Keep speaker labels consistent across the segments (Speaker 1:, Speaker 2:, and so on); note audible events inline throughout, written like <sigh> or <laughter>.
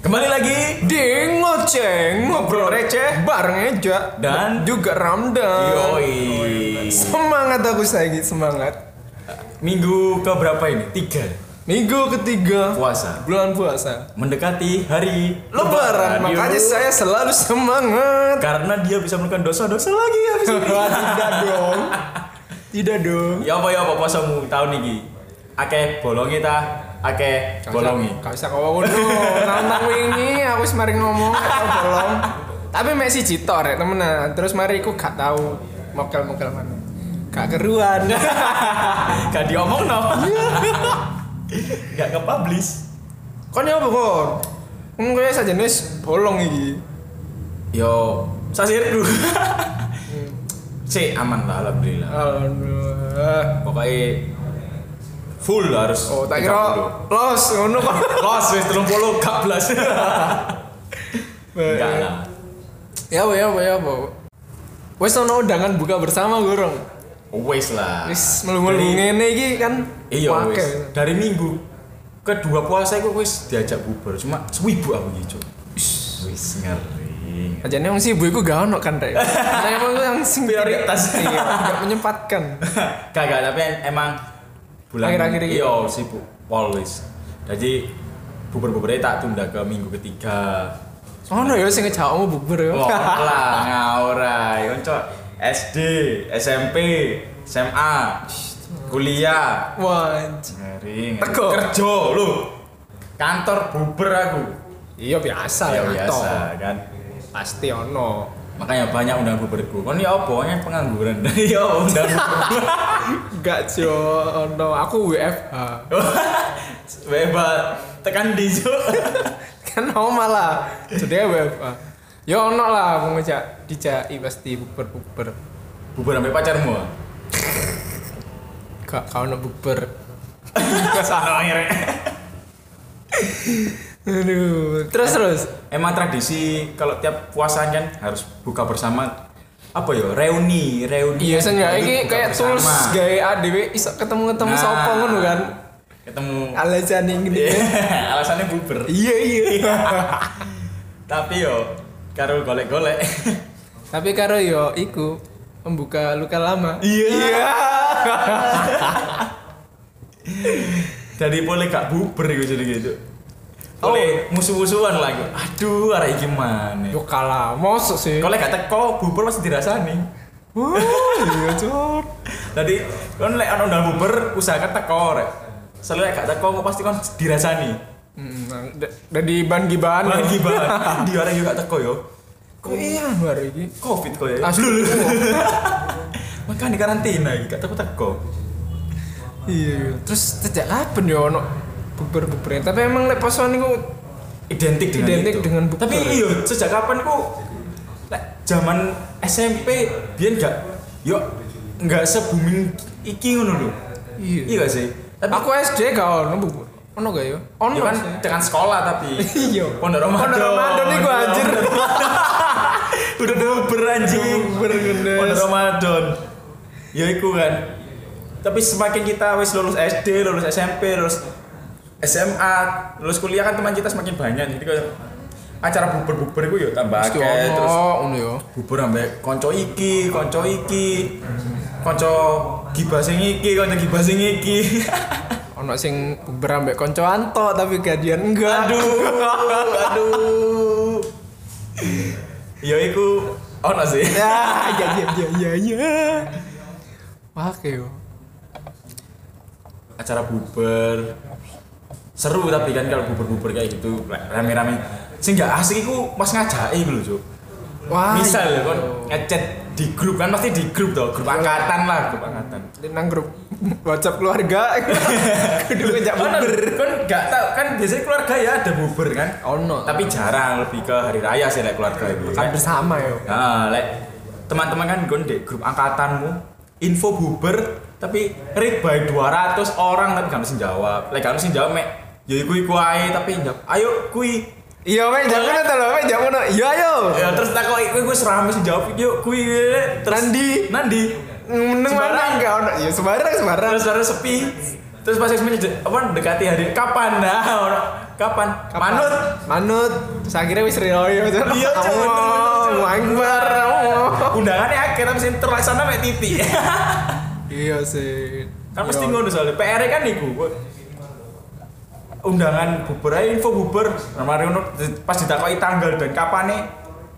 Speaker 1: Kembali lagi
Speaker 2: Ding ngoceng ngobrol receh bareng Eja
Speaker 1: Dan-
Speaker 2: juga Ramdan.
Speaker 1: Yoi
Speaker 2: Semangat aku lagi semangat.
Speaker 1: Minggu ke berapa ini? Tiga
Speaker 2: Minggu ketiga
Speaker 1: Puasa
Speaker 2: bulan puasa.
Speaker 1: Mendekati hari
Speaker 2: Lebaran, makanya
Speaker 1: Yuk.
Speaker 2: saya selalu semangat.
Speaker 1: Karena dia bisa melakukan dosa-dosa lagi ya, habis ini
Speaker 2: <laughs> Tidak dong. Tidak dong.
Speaker 1: Ya apa ya apa puasamu tahun ini Ake bolongi ta Ake bolongi
Speaker 2: Gak bisa ngomong dulu. <laughs> Nantang wingi aku wis mari ngomong aku bolong. Tapi mek siji tor ya temenan. Terus mari aku gak tahu mokel-mokel mana. Gak keruan.
Speaker 1: Gak diomong no
Speaker 2: Iya.
Speaker 1: <laughs> Gak ke-publish
Speaker 2: Kon ya apa kon? Kon kaya sajenis bolong iki.
Speaker 1: Yo Sasirku <laughs> Si aman lah Alhamdulillah
Speaker 2: Alhamdulillah.
Speaker 1: Pokoknya Full harus
Speaker 2: Oh, tak kira
Speaker 1: 30.
Speaker 2: los ngono kok.
Speaker 1: Los wis 30 gak blas.
Speaker 2: <laughs>
Speaker 1: Enggak lah.
Speaker 2: Ya apa ya apa ya apa. Wes ono undangan buka bersama gorong.
Speaker 1: Wis lah.
Speaker 2: Wis melu-melu
Speaker 1: Dari-
Speaker 2: ngene iki kan.
Speaker 1: Ah, Iya
Speaker 2: wake.
Speaker 1: wis. Dari minggu kedua puasa iku wis diajak bubur cuma sewibu aku iki, Cuk. Wis ngeri. <laughs>
Speaker 2: Ajane wong sibuk iku gak ono kan rek. Nah, emang yang sing
Speaker 1: Prioritas.
Speaker 2: <laughs> iya, gak menyempatkan.
Speaker 1: Kagak tapi emang bulan
Speaker 2: Akhir-akhir ini.
Speaker 1: Iya sibuk pol wis. Jadi bubur-buburnya tak tunda ke minggu
Speaker 2: <laughs>
Speaker 1: ketiga.
Speaker 2: Ono ya sing ngejakmu bubur ya.
Speaker 1: Wah, lah ngawur ae. Cok. SD, SMP, SMA, kuliah,
Speaker 2: <laughs> Wah. anj-
Speaker 1: Ngeri, ngeri.
Speaker 2: Teko.
Speaker 1: Kerja lu. Kantor buber aku.
Speaker 2: Iya biasa
Speaker 1: Ya
Speaker 2: ya
Speaker 1: biasa
Speaker 2: toh.
Speaker 1: kan.
Speaker 2: Pasti ono.
Speaker 1: Makanya banyak undang buberku. Kon ya apa? Kan pengangguran. <laughs> Ya undang buber. <laughs>
Speaker 2: Enggak, Jo. Ono. Aku WFH.
Speaker 1: Bebas tekan di Cuk.
Speaker 2: <laughs> kan mau malah jadi WFA ya ono lah mau ngejak dijai pasti buber buber
Speaker 1: Buber sampai pacarmu. ah?
Speaker 2: <laughs> gak kau ono buber
Speaker 1: Salah ngeri.
Speaker 2: aduh terus terus
Speaker 1: Emang tradisi kalau tiap puasa kan harus buka bersama apa ya reuni reuni
Speaker 2: iya
Speaker 1: Jadi
Speaker 2: senja ini
Speaker 1: buka
Speaker 2: kayak tools
Speaker 1: bersama.
Speaker 2: gaya ADW iso ketemu ketemu
Speaker 1: Nah,
Speaker 2: sopo ngono kan
Speaker 1: ketemu <laughs>
Speaker 2: alasan yang gini
Speaker 1: alasannya buber
Speaker 2: iya iya
Speaker 1: tapi yo karo golek-golek
Speaker 2: tapi karo yo iku membuka luka lama
Speaker 1: iya iya jadi boleh gak buber gitu jadi gitu boleh musuh-musuhan lah gitu. aduh arah iki mana
Speaker 2: yo kalah mosok sih
Speaker 1: kalau gak teko buber pasti dirasani
Speaker 2: Wah, iya cor
Speaker 1: jadi kan lek ono ndang buber usahakan teko rek soalnya lek gak teko kok pasti kan dirasani
Speaker 2: Hmm, d- dari ban gibahan
Speaker 1: bagi banget di orang juga teko yo
Speaker 2: kok iya baru ini
Speaker 1: covid kok ya
Speaker 2: Asli.
Speaker 1: makanya di karantina iki, gak teko teko
Speaker 2: iya iya. terus sejak kapan ya ono buber buberan tapi emang lek posoan niku
Speaker 1: identik dengan
Speaker 2: Identik
Speaker 1: itu.
Speaker 2: dengan bukber.
Speaker 1: tapi iya sejak kapan ku lek zaman SMP biyen gak yo nggak se booming iki ngono lho
Speaker 2: Iya.
Speaker 1: iya gak sih tapi
Speaker 2: aku SD gak ono bubur ono gak ya ono
Speaker 1: ya kan
Speaker 2: sih.
Speaker 1: dengan sekolah tapi
Speaker 2: Iya.
Speaker 1: pondok Ramadan
Speaker 2: Pondok Ramadan iku
Speaker 1: Iya,
Speaker 2: anjir.
Speaker 1: pondok Ramadan. udah dober anjing
Speaker 2: Bubur, gendes.
Speaker 1: pondok Ramadan ya iku kan tapi semakin kita wis lulus SD lulus SMP lulus SMA lulus kuliah kan teman kita semakin banyak jadi kayak acara bubur-bubur itu ya tambah
Speaker 2: Pasti
Speaker 1: akeh
Speaker 2: ono
Speaker 1: terus
Speaker 2: ono ya
Speaker 1: bubur ambek konco iki, konco iki, konco gibah sing iki, konco gibah sing iki. <laughs>
Speaker 2: ono sing buber ambek konco anto tapi gadian enggak <laughs>
Speaker 1: aduh, aduh. Ya iku ono sih.
Speaker 2: ya ya ya ya ya ya wah kayak yo
Speaker 1: Acara bubur. Seru tapi kan kalau bubur-bubur kayak gitu rame-rame. Sing gak asik iku pas ngajake iku lho, Cuk.
Speaker 2: wah
Speaker 1: Misal
Speaker 2: iya.
Speaker 1: kon ngechat di grup kan pasti di grup toh, grup angkatan lah, grup angkatan.
Speaker 2: iya. nang grup WhatsApp keluarga kudu ngejak
Speaker 1: Kan
Speaker 2: buber
Speaker 1: kan nggak tahu kan biasanya keluarga ya ada bubur kan.
Speaker 2: Ono.
Speaker 1: Tapi jarang lebih ke hari raya sih lek keluarga itu.
Speaker 2: kan bersama yo
Speaker 1: Nah, lek teman-teman kan gue di grup angkatanmu info buber tapi read by 200 orang tapi gak harus jawab. Lek gak harus jawab mek ya iku iku ae tapi njawab ayo kui
Speaker 2: iya weh jangan ngono to lho weh jangan ngono iya ayo
Speaker 1: ya terus tak kok iku wis rame sing jawab yuk kui terus
Speaker 2: Nandi.
Speaker 1: Nandi
Speaker 2: meneng
Speaker 1: Sembarang.
Speaker 2: mana enggak ono ya sembarang sembarang
Speaker 1: terus terus sepi Terus pas ekspedisi de- apa dekati hari kapan nah orang kapan? Manut.
Speaker 2: manut terus akhirnya wis riloyo
Speaker 1: Iya, Cuk, bener-bener, Cuk.
Speaker 2: Allah akbar Allah.
Speaker 1: Undangannya akhir tapi sing terlaksana mek titik. <laughs>
Speaker 2: iya sih
Speaker 1: kan mesti
Speaker 2: Iya.
Speaker 1: ngono soalnya PR kan niku undangan buber aja info buber Nah, mari ngono di- pas ditakoi tanggal dan kapan nih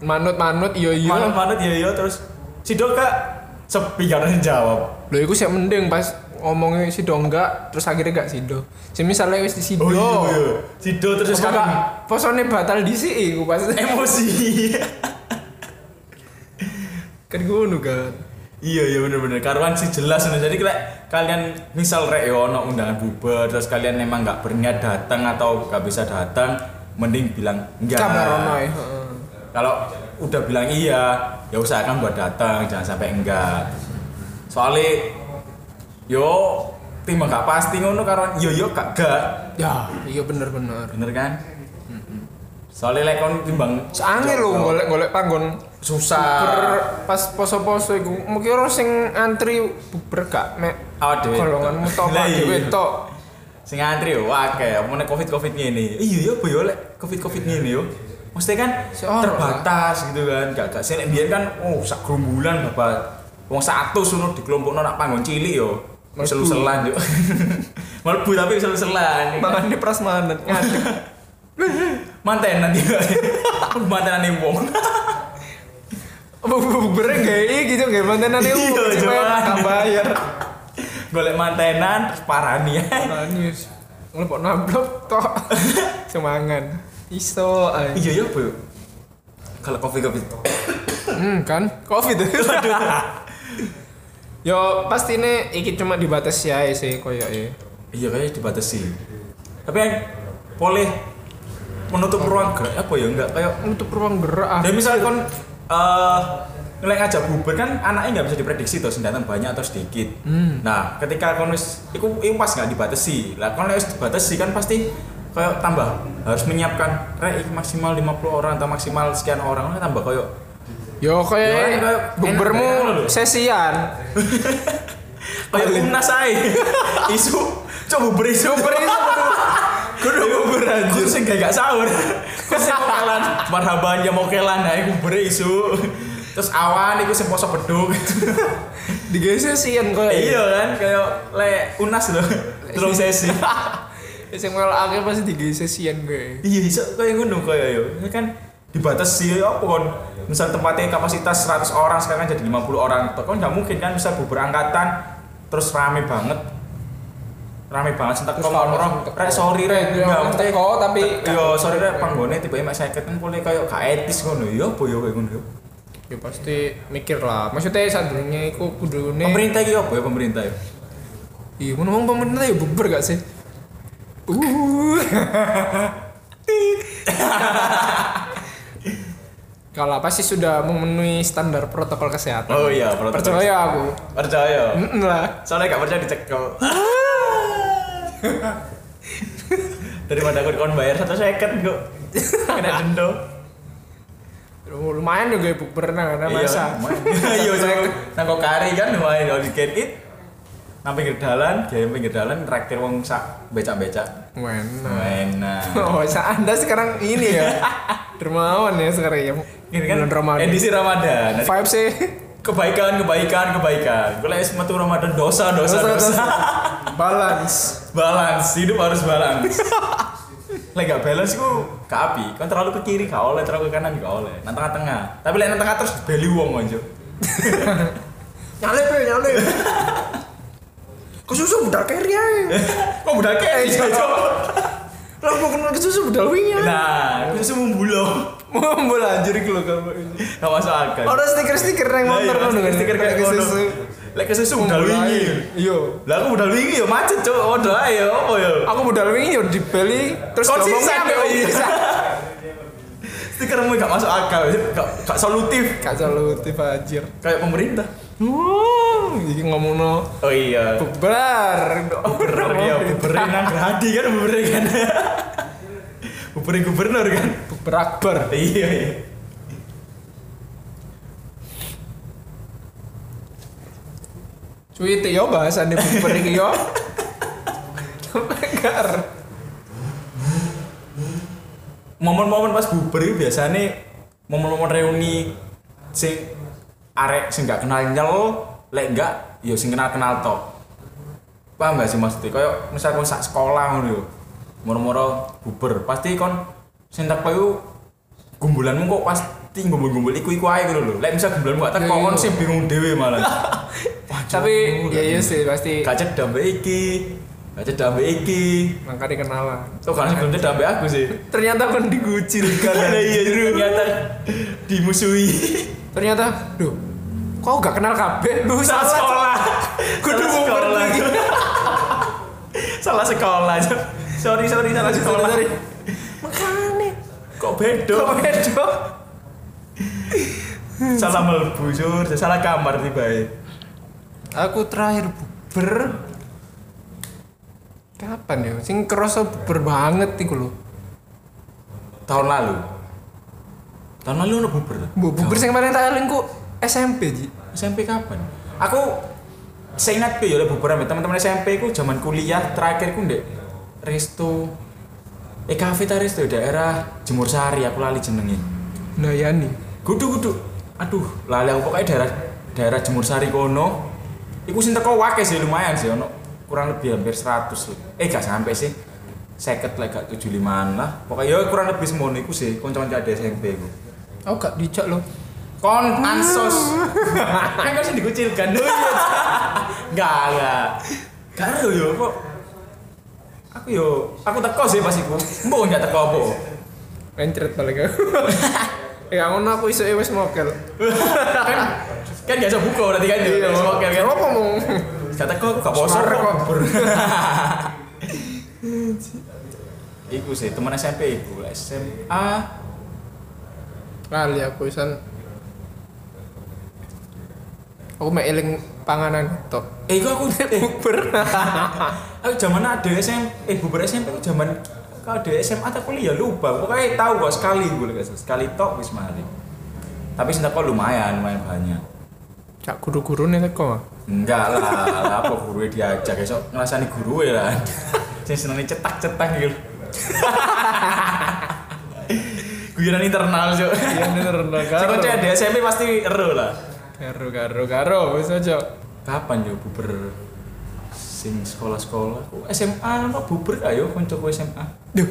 Speaker 2: manut manut iya iya
Speaker 1: malam banget ya iya terus sido kak sepi gak ada yang jawab
Speaker 2: Lho iku sih mending pas ngomongnya si do enggak terus akhirnya enggak sido. Si misalnya wis di
Speaker 1: oh
Speaker 2: sido.
Speaker 1: iya iya sido terus
Speaker 2: Terus kakak Eh,
Speaker 1: kakak
Speaker 2: posone batal di sini iku pas <laughs>
Speaker 1: emosi
Speaker 2: kan ngono kan.
Speaker 1: iya iya bener-bener karuan sih jelas bener. jadi kayak kalian misal rek yo ono undangan buber terus kalian memang nggak berniat datang atau nggak bisa datang mending bilang enggak
Speaker 2: Kabarono ya.
Speaker 1: kalau udah bilang iya ya usahakan buat datang jangan sampai enggak soalnya yo tim gak pasti ngono karena yo yo gak gak
Speaker 2: Ya, iya bener-bener.
Speaker 1: bener kan soalnya lek kon timbang
Speaker 2: Angel lho golek-golek panggon
Speaker 1: susah
Speaker 2: Ber- pas poso-poso iku mungkin orang sing antri buber gak mek
Speaker 1: awak Oh, dhewe
Speaker 2: golonganmu
Speaker 1: tok.
Speaker 2: tok
Speaker 1: Lah
Speaker 2: Pak
Speaker 1: iya.
Speaker 2: dhewe tok.
Speaker 1: sing antri yo akeh apa nek covid covid ngene iya yo boyo lek covid covid ngene yo mesti kan
Speaker 2: Si orang,
Speaker 1: terbatas gitu kan gak gak sih biyen kan oh sak gerombolan bapak wong 100 ngono dikelompokno nak panggon cilik yo
Speaker 2: Mlebu.
Speaker 1: selu-selan yo <laughs> mlebu tapi selu-selan
Speaker 2: Mangan di prasmanan ngadeg. <laughs>
Speaker 1: manten nanti <laughs> mantenan ning wong <laughs>
Speaker 2: Buber gak gitu gak mantenan iku.
Speaker 1: Iya,
Speaker 2: Cepet,
Speaker 1: jangan.
Speaker 2: tak
Speaker 1: <laughs>
Speaker 2: bayar.
Speaker 1: golek mantenan terus parani <laughs> ya
Speaker 2: Manis. Ngelepok nablok
Speaker 1: <laughs>
Speaker 2: tok. Semangan. Iso ay.
Speaker 1: iya yo boyo kalau covid <laughs> covid
Speaker 2: Hmm kan covid. <laughs> Yo pasti ini iki cuma dibatasi ae sih koyo e.
Speaker 1: iya kayaknya dibatasi tapi yang boleh menutup ruang gerak apa ya enggak kayak
Speaker 2: Untuk ruang gerak ah.
Speaker 1: Dan misalnya kon eh ngelek ngajak buber kan anaknya nggak bisa diprediksi tuh sendatang banyak atau sedikit. Nah, ketika kon wis iku iku pas nggak dibatasi. Lah kon lek wis dibatasi kan pasti kayak tambah harus menyiapkan rek iki maksimal 50 orang atau maksimal sekian orang kan tambah kayak
Speaker 2: Yo koyo
Speaker 1: Yo,
Speaker 2: e,
Speaker 1: kan kayak enak, enak
Speaker 2: bubermu
Speaker 1: lho.
Speaker 2: sesian.
Speaker 1: kayak
Speaker 2: Paling.
Speaker 1: umnas <laughs> ae. isu coba buber isu buber isu. Kudu buber Iya. anjir sing gak gak sahur. Kudu sing mokelan, marhaban ya mokelan ae buber isu. Terus awan iku sing poso beduk.
Speaker 2: Digeser sian koyo. e.
Speaker 1: iya kan kayak le unas loh terus sesi <laughs>
Speaker 2: Wis yang malah akhir pasti digeser sian gue.
Speaker 1: iya iso kayak ngono kayak yo Ini kan dibatasi ya apa kon misal tempatnya kapasitas 100 orang sekarang jadi 50 orang Tuh, kan nggak mungkin kan bisa bubar angkatan terus rame banget rame banget sentak
Speaker 2: Terus
Speaker 1: kom orang
Speaker 2: rame,
Speaker 1: orang
Speaker 2: sentek.
Speaker 1: rek sorry rek Iya.
Speaker 2: Iya,
Speaker 1: nggak mesti
Speaker 2: teko, tapi- kan, Iya.
Speaker 1: yo sorry rek panggone tiba tiba saya kan boleh kayak gak etis ngono yo apa yo kayak ngono iya. yo
Speaker 2: Ya pasti mikir lah. Maksudnya sadurunge iku kudune
Speaker 1: pemerintah iki apa ya pemerintah yo
Speaker 2: Iya, mau ngomong pemerintah ya buber gak sih? Uh. <laughs> Tit. Kalau apa sih sudah memenuhi standar protokol kesehatan?
Speaker 1: oh iya perlu-
Speaker 2: Percaya aku.
Speaker 1: percaya
Speaker 2: Mm lah.
Speaker 1: Soalnya gak percaya dicekel. <laughs> Daripada aku dikon bayar satu second kok. Kena denda.
Speaker 2: Lumayan juga ya buber nah, karena masa.
Speaker 1: <laughs> Iya, saya nangko kari kan lumayan all you can eat. Nang pinggir dalan, jalan pinggir dalan traktir wong sak becak-becak.
Speaker 2: Mana?
Speaker 1: Enak.
Speaker 2: <laughs> Oh, sa- anda sekarang ini
Speaker 1: <laughs>
Speaker 2: ya. Dermawan ya sekarang ya.
Speaker 1: Ini kan
Speaker 2: Bulan Ramadan.
Speaker 1: edisi Ramadan. Nanti
Speaker 2: Vibes sih.
Speaker 1: Kebaikan, kebaikan, kebaikan. Gue lagi metu Ramadan dosa, dosa,
Speaker 2: Dosa,
Speaker 1: dosa.
Speaker 2: dosa. Balance.
Speaker 1: balance, hidup harus <laughs> balance. lek gak balance ku gak api. Kan terlalu ke kiri gak oleh, terlalu ke kanan gak oleh. Nang tengah-tengah. Tapi lek nang tengah terus beli wong aja.
Speaker 2: Nyalip ya, nyalip. Kesusu budal carry aja.
Speaker 1: <laughs> Kok udah kayak gitu, iso
Speaker 2: Lah mau kenal kesusu budal
Speaker 1: <laughs>
Speaker 2: wingi.
Speaker 1: Nah, aku susu membulo.
Speaker 2: Mau anjir iki lho kamu ini.
Speaker 1: Gak masuk akal.
Speaker 2: Ada stiker-stiker yang
Speaker 1: Lah, iya,
Speaker 2: motor kan dengan
Speaker 1: stiker kayak
Speaker 2: kesusu.
Speaker 1: ngono. Lek ke susu udah wingi.
Speaker 2: Iya.
Speaker 1: Lah aku udah wingi ya macet, Cuk. Waduh ae ya apa ya.
Speaker 2: Aku budal wingi yo dibeli terus
Speaker 1: Konsisten,
Speaker 2: diomongnya
Speaker 1: yo,
Speaker 2: ambil
Speaker 1: iya.
Speaker 2: konsisten.
Speaker 1: <laughs> Stikermu gak masuk akal, gak gak solutif
Speaker 2: Gak solutif anjir.
Speaker 1: kayak pemerintah.
Speaker 2: Wow, iki ngomongno
Speaker 1: Oh iya.
Speaker 2: bubar.
Speaker 1: Buber ya,
Speaker 2: Oh.
Speaker 1: buberin nang Gerhadi kan buberin kan. buberin gubernur kan.
Speaker 2: Bubar akbar.
Speaker 1: Iya iya.
Speaker 2: Cuy, itu yo bahasannya bubar iki yo. Gak ero.
Speaker 1: momen-momen pas bubar itu biasanya momen-momen reuni sing arek sing gak kenal nyel lek gak ya sing kenal kenal tok paham gak sih maksudnya kayak misal kon sak sekolah ngono yo moro-moro bubar pasti kon sing teko yo gumbulanmu kok pasti gumbul-gumbul iku iku ae ngono lho lek misal gumbulanmu gak teko
Speaker 2: Ya, iya.
Speaker 1: kon sing bingung dhewe malah
Speaker 2: Tapi ya iya sih pasti
Speaker 1: gak cedam mbek iki gak cedam mbek iki
Speaker 2: makanya kenalan.
Speaker 1: tuh kan sebelum cedam mbek aku sih
Speaker 2: Ternyata kan digucilkan.
Speaker 1: karena iya ternyata dimusuhi
Speaker 2: Ternyata, duh, kok gak kenal kabeh?
Speaker 1: salah
Speaker 2: Duh, salah.
Speaker 1: sekolah
Speaker 2: Kudu
Speaker 1: Salah
Speaker 2: bubar lagi.
Speaker 1: salah sekolah Cok. sorry sorry salah sekolah
Speaker 2: Sorry, sorry. Makane.
Speaker 1: kok bedo
Speaker 2: Kok beda?
Speaker 1: salah melbu sur salah kamar tiba
Speaker 2: Aku terakhir buber kapan ya? Sing kerasa buber banget iku lho.
Speaker 1: tahun lalu tahun lalu ono buber
Speaker 2: Bu- Buber sing paling tak eling ku SMP, Ji.
Speaker 1: SMP kapan aku seingat ku ya oleh buber ambek teman-teman SMP ku zaman kuliah terakhir ku ndek resto eh kafe ta resto daerah Jemur Sari aku lali jenenge
Speaker 2: Nayani.
Speaker 1: Gudu gudu. Aduh, lali aku pokoknya daerah daerah Jemur Sari kono. Iku sing teko wake sih lumayan sih ono kurang lebih hampir 100 sih. Eh gak sampai sih. 50 lah gak 75 lah. Pokoknya ya kurang lebih semono iku sih kanca-kanca ada SMP iku.
Speaker 2: Aku gak dijak lho.
Speaker 1: Kon ansos. Ah. <laughs> kan kan sing <laughs> dikucilkan. Oh iya. Enggak, enggak. Gak ero yo kok. Aku yo, aku teko sih pas iku. Mbok gak teko apa.
Speaker 2: Mencret <laughs> paling aku. Ya ngono aku iso wis mokel.
Speaker 1: kan kan gak bisa buka berarti kan.
Speaker 2: Iya,
Speaker 1: Oke,
Speaker 2: Eh, mokel.
Speaker 1: kan.
Speaker 2: Kenapa mau?
Speaker 1: Kata kok gak poso
Speaker 2: Semar
Speaker 1: kok.
Speaker 2: kok.
Speaker 1: <laughs> Iku sih teman SMP iku, SMA
Speaker 2: Lali aku isan. Aku mek eling panganan tok.
Speaker 1: eh iku aku eh,
Speaker 2: Buber.
Speaker 1: <laughs> aku zaman ada SMP eh bubar SMP aku zaman kalau ada SMA tak kuliah ya lupa pokoknya tahu kok sekali gue lagi sekali tok wis mari tapi sentak kok lumayan lumayan banyak
Speaker 2: Cak guru-guru nih teko.
Speaker 1: enggak lah apa guru diajak esok ngelasani guru <laughs> lah saya seneng cetak-cetak gitu <laughs> guyonan internal cok
Speaker 2: Iya bener
Speaker 1: Kalau ada SMP pasti ero lah.
Speaker 2: Karo karo karo wis aja.
Speaker 1: Kapan yo buber sing sekolah-sekolah? Oh, SMA ono buber ayo kanca ku SMA.
Speaker 2: Duh.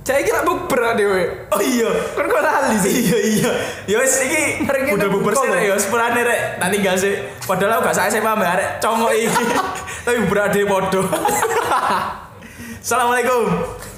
Speaker 2: Cak iki lak buber dhewe.
Speaker 1: Oh iya.
Speaker 2: Kan kok lali sih.
Speaker 1: Iya iya. Yo wis iki
Speaker 2: Mari kita
Speaker 1: udah buber sih
Speaker 2: buka,
Speaker 1: rek yo sepurane rek. Tak tinggal sih. Padahal aku gak sak SMA mbak rek
Speaker 2: <laughs>
Speaker 1: congok iki. Tapi buber ade podo. Assalamualaikum.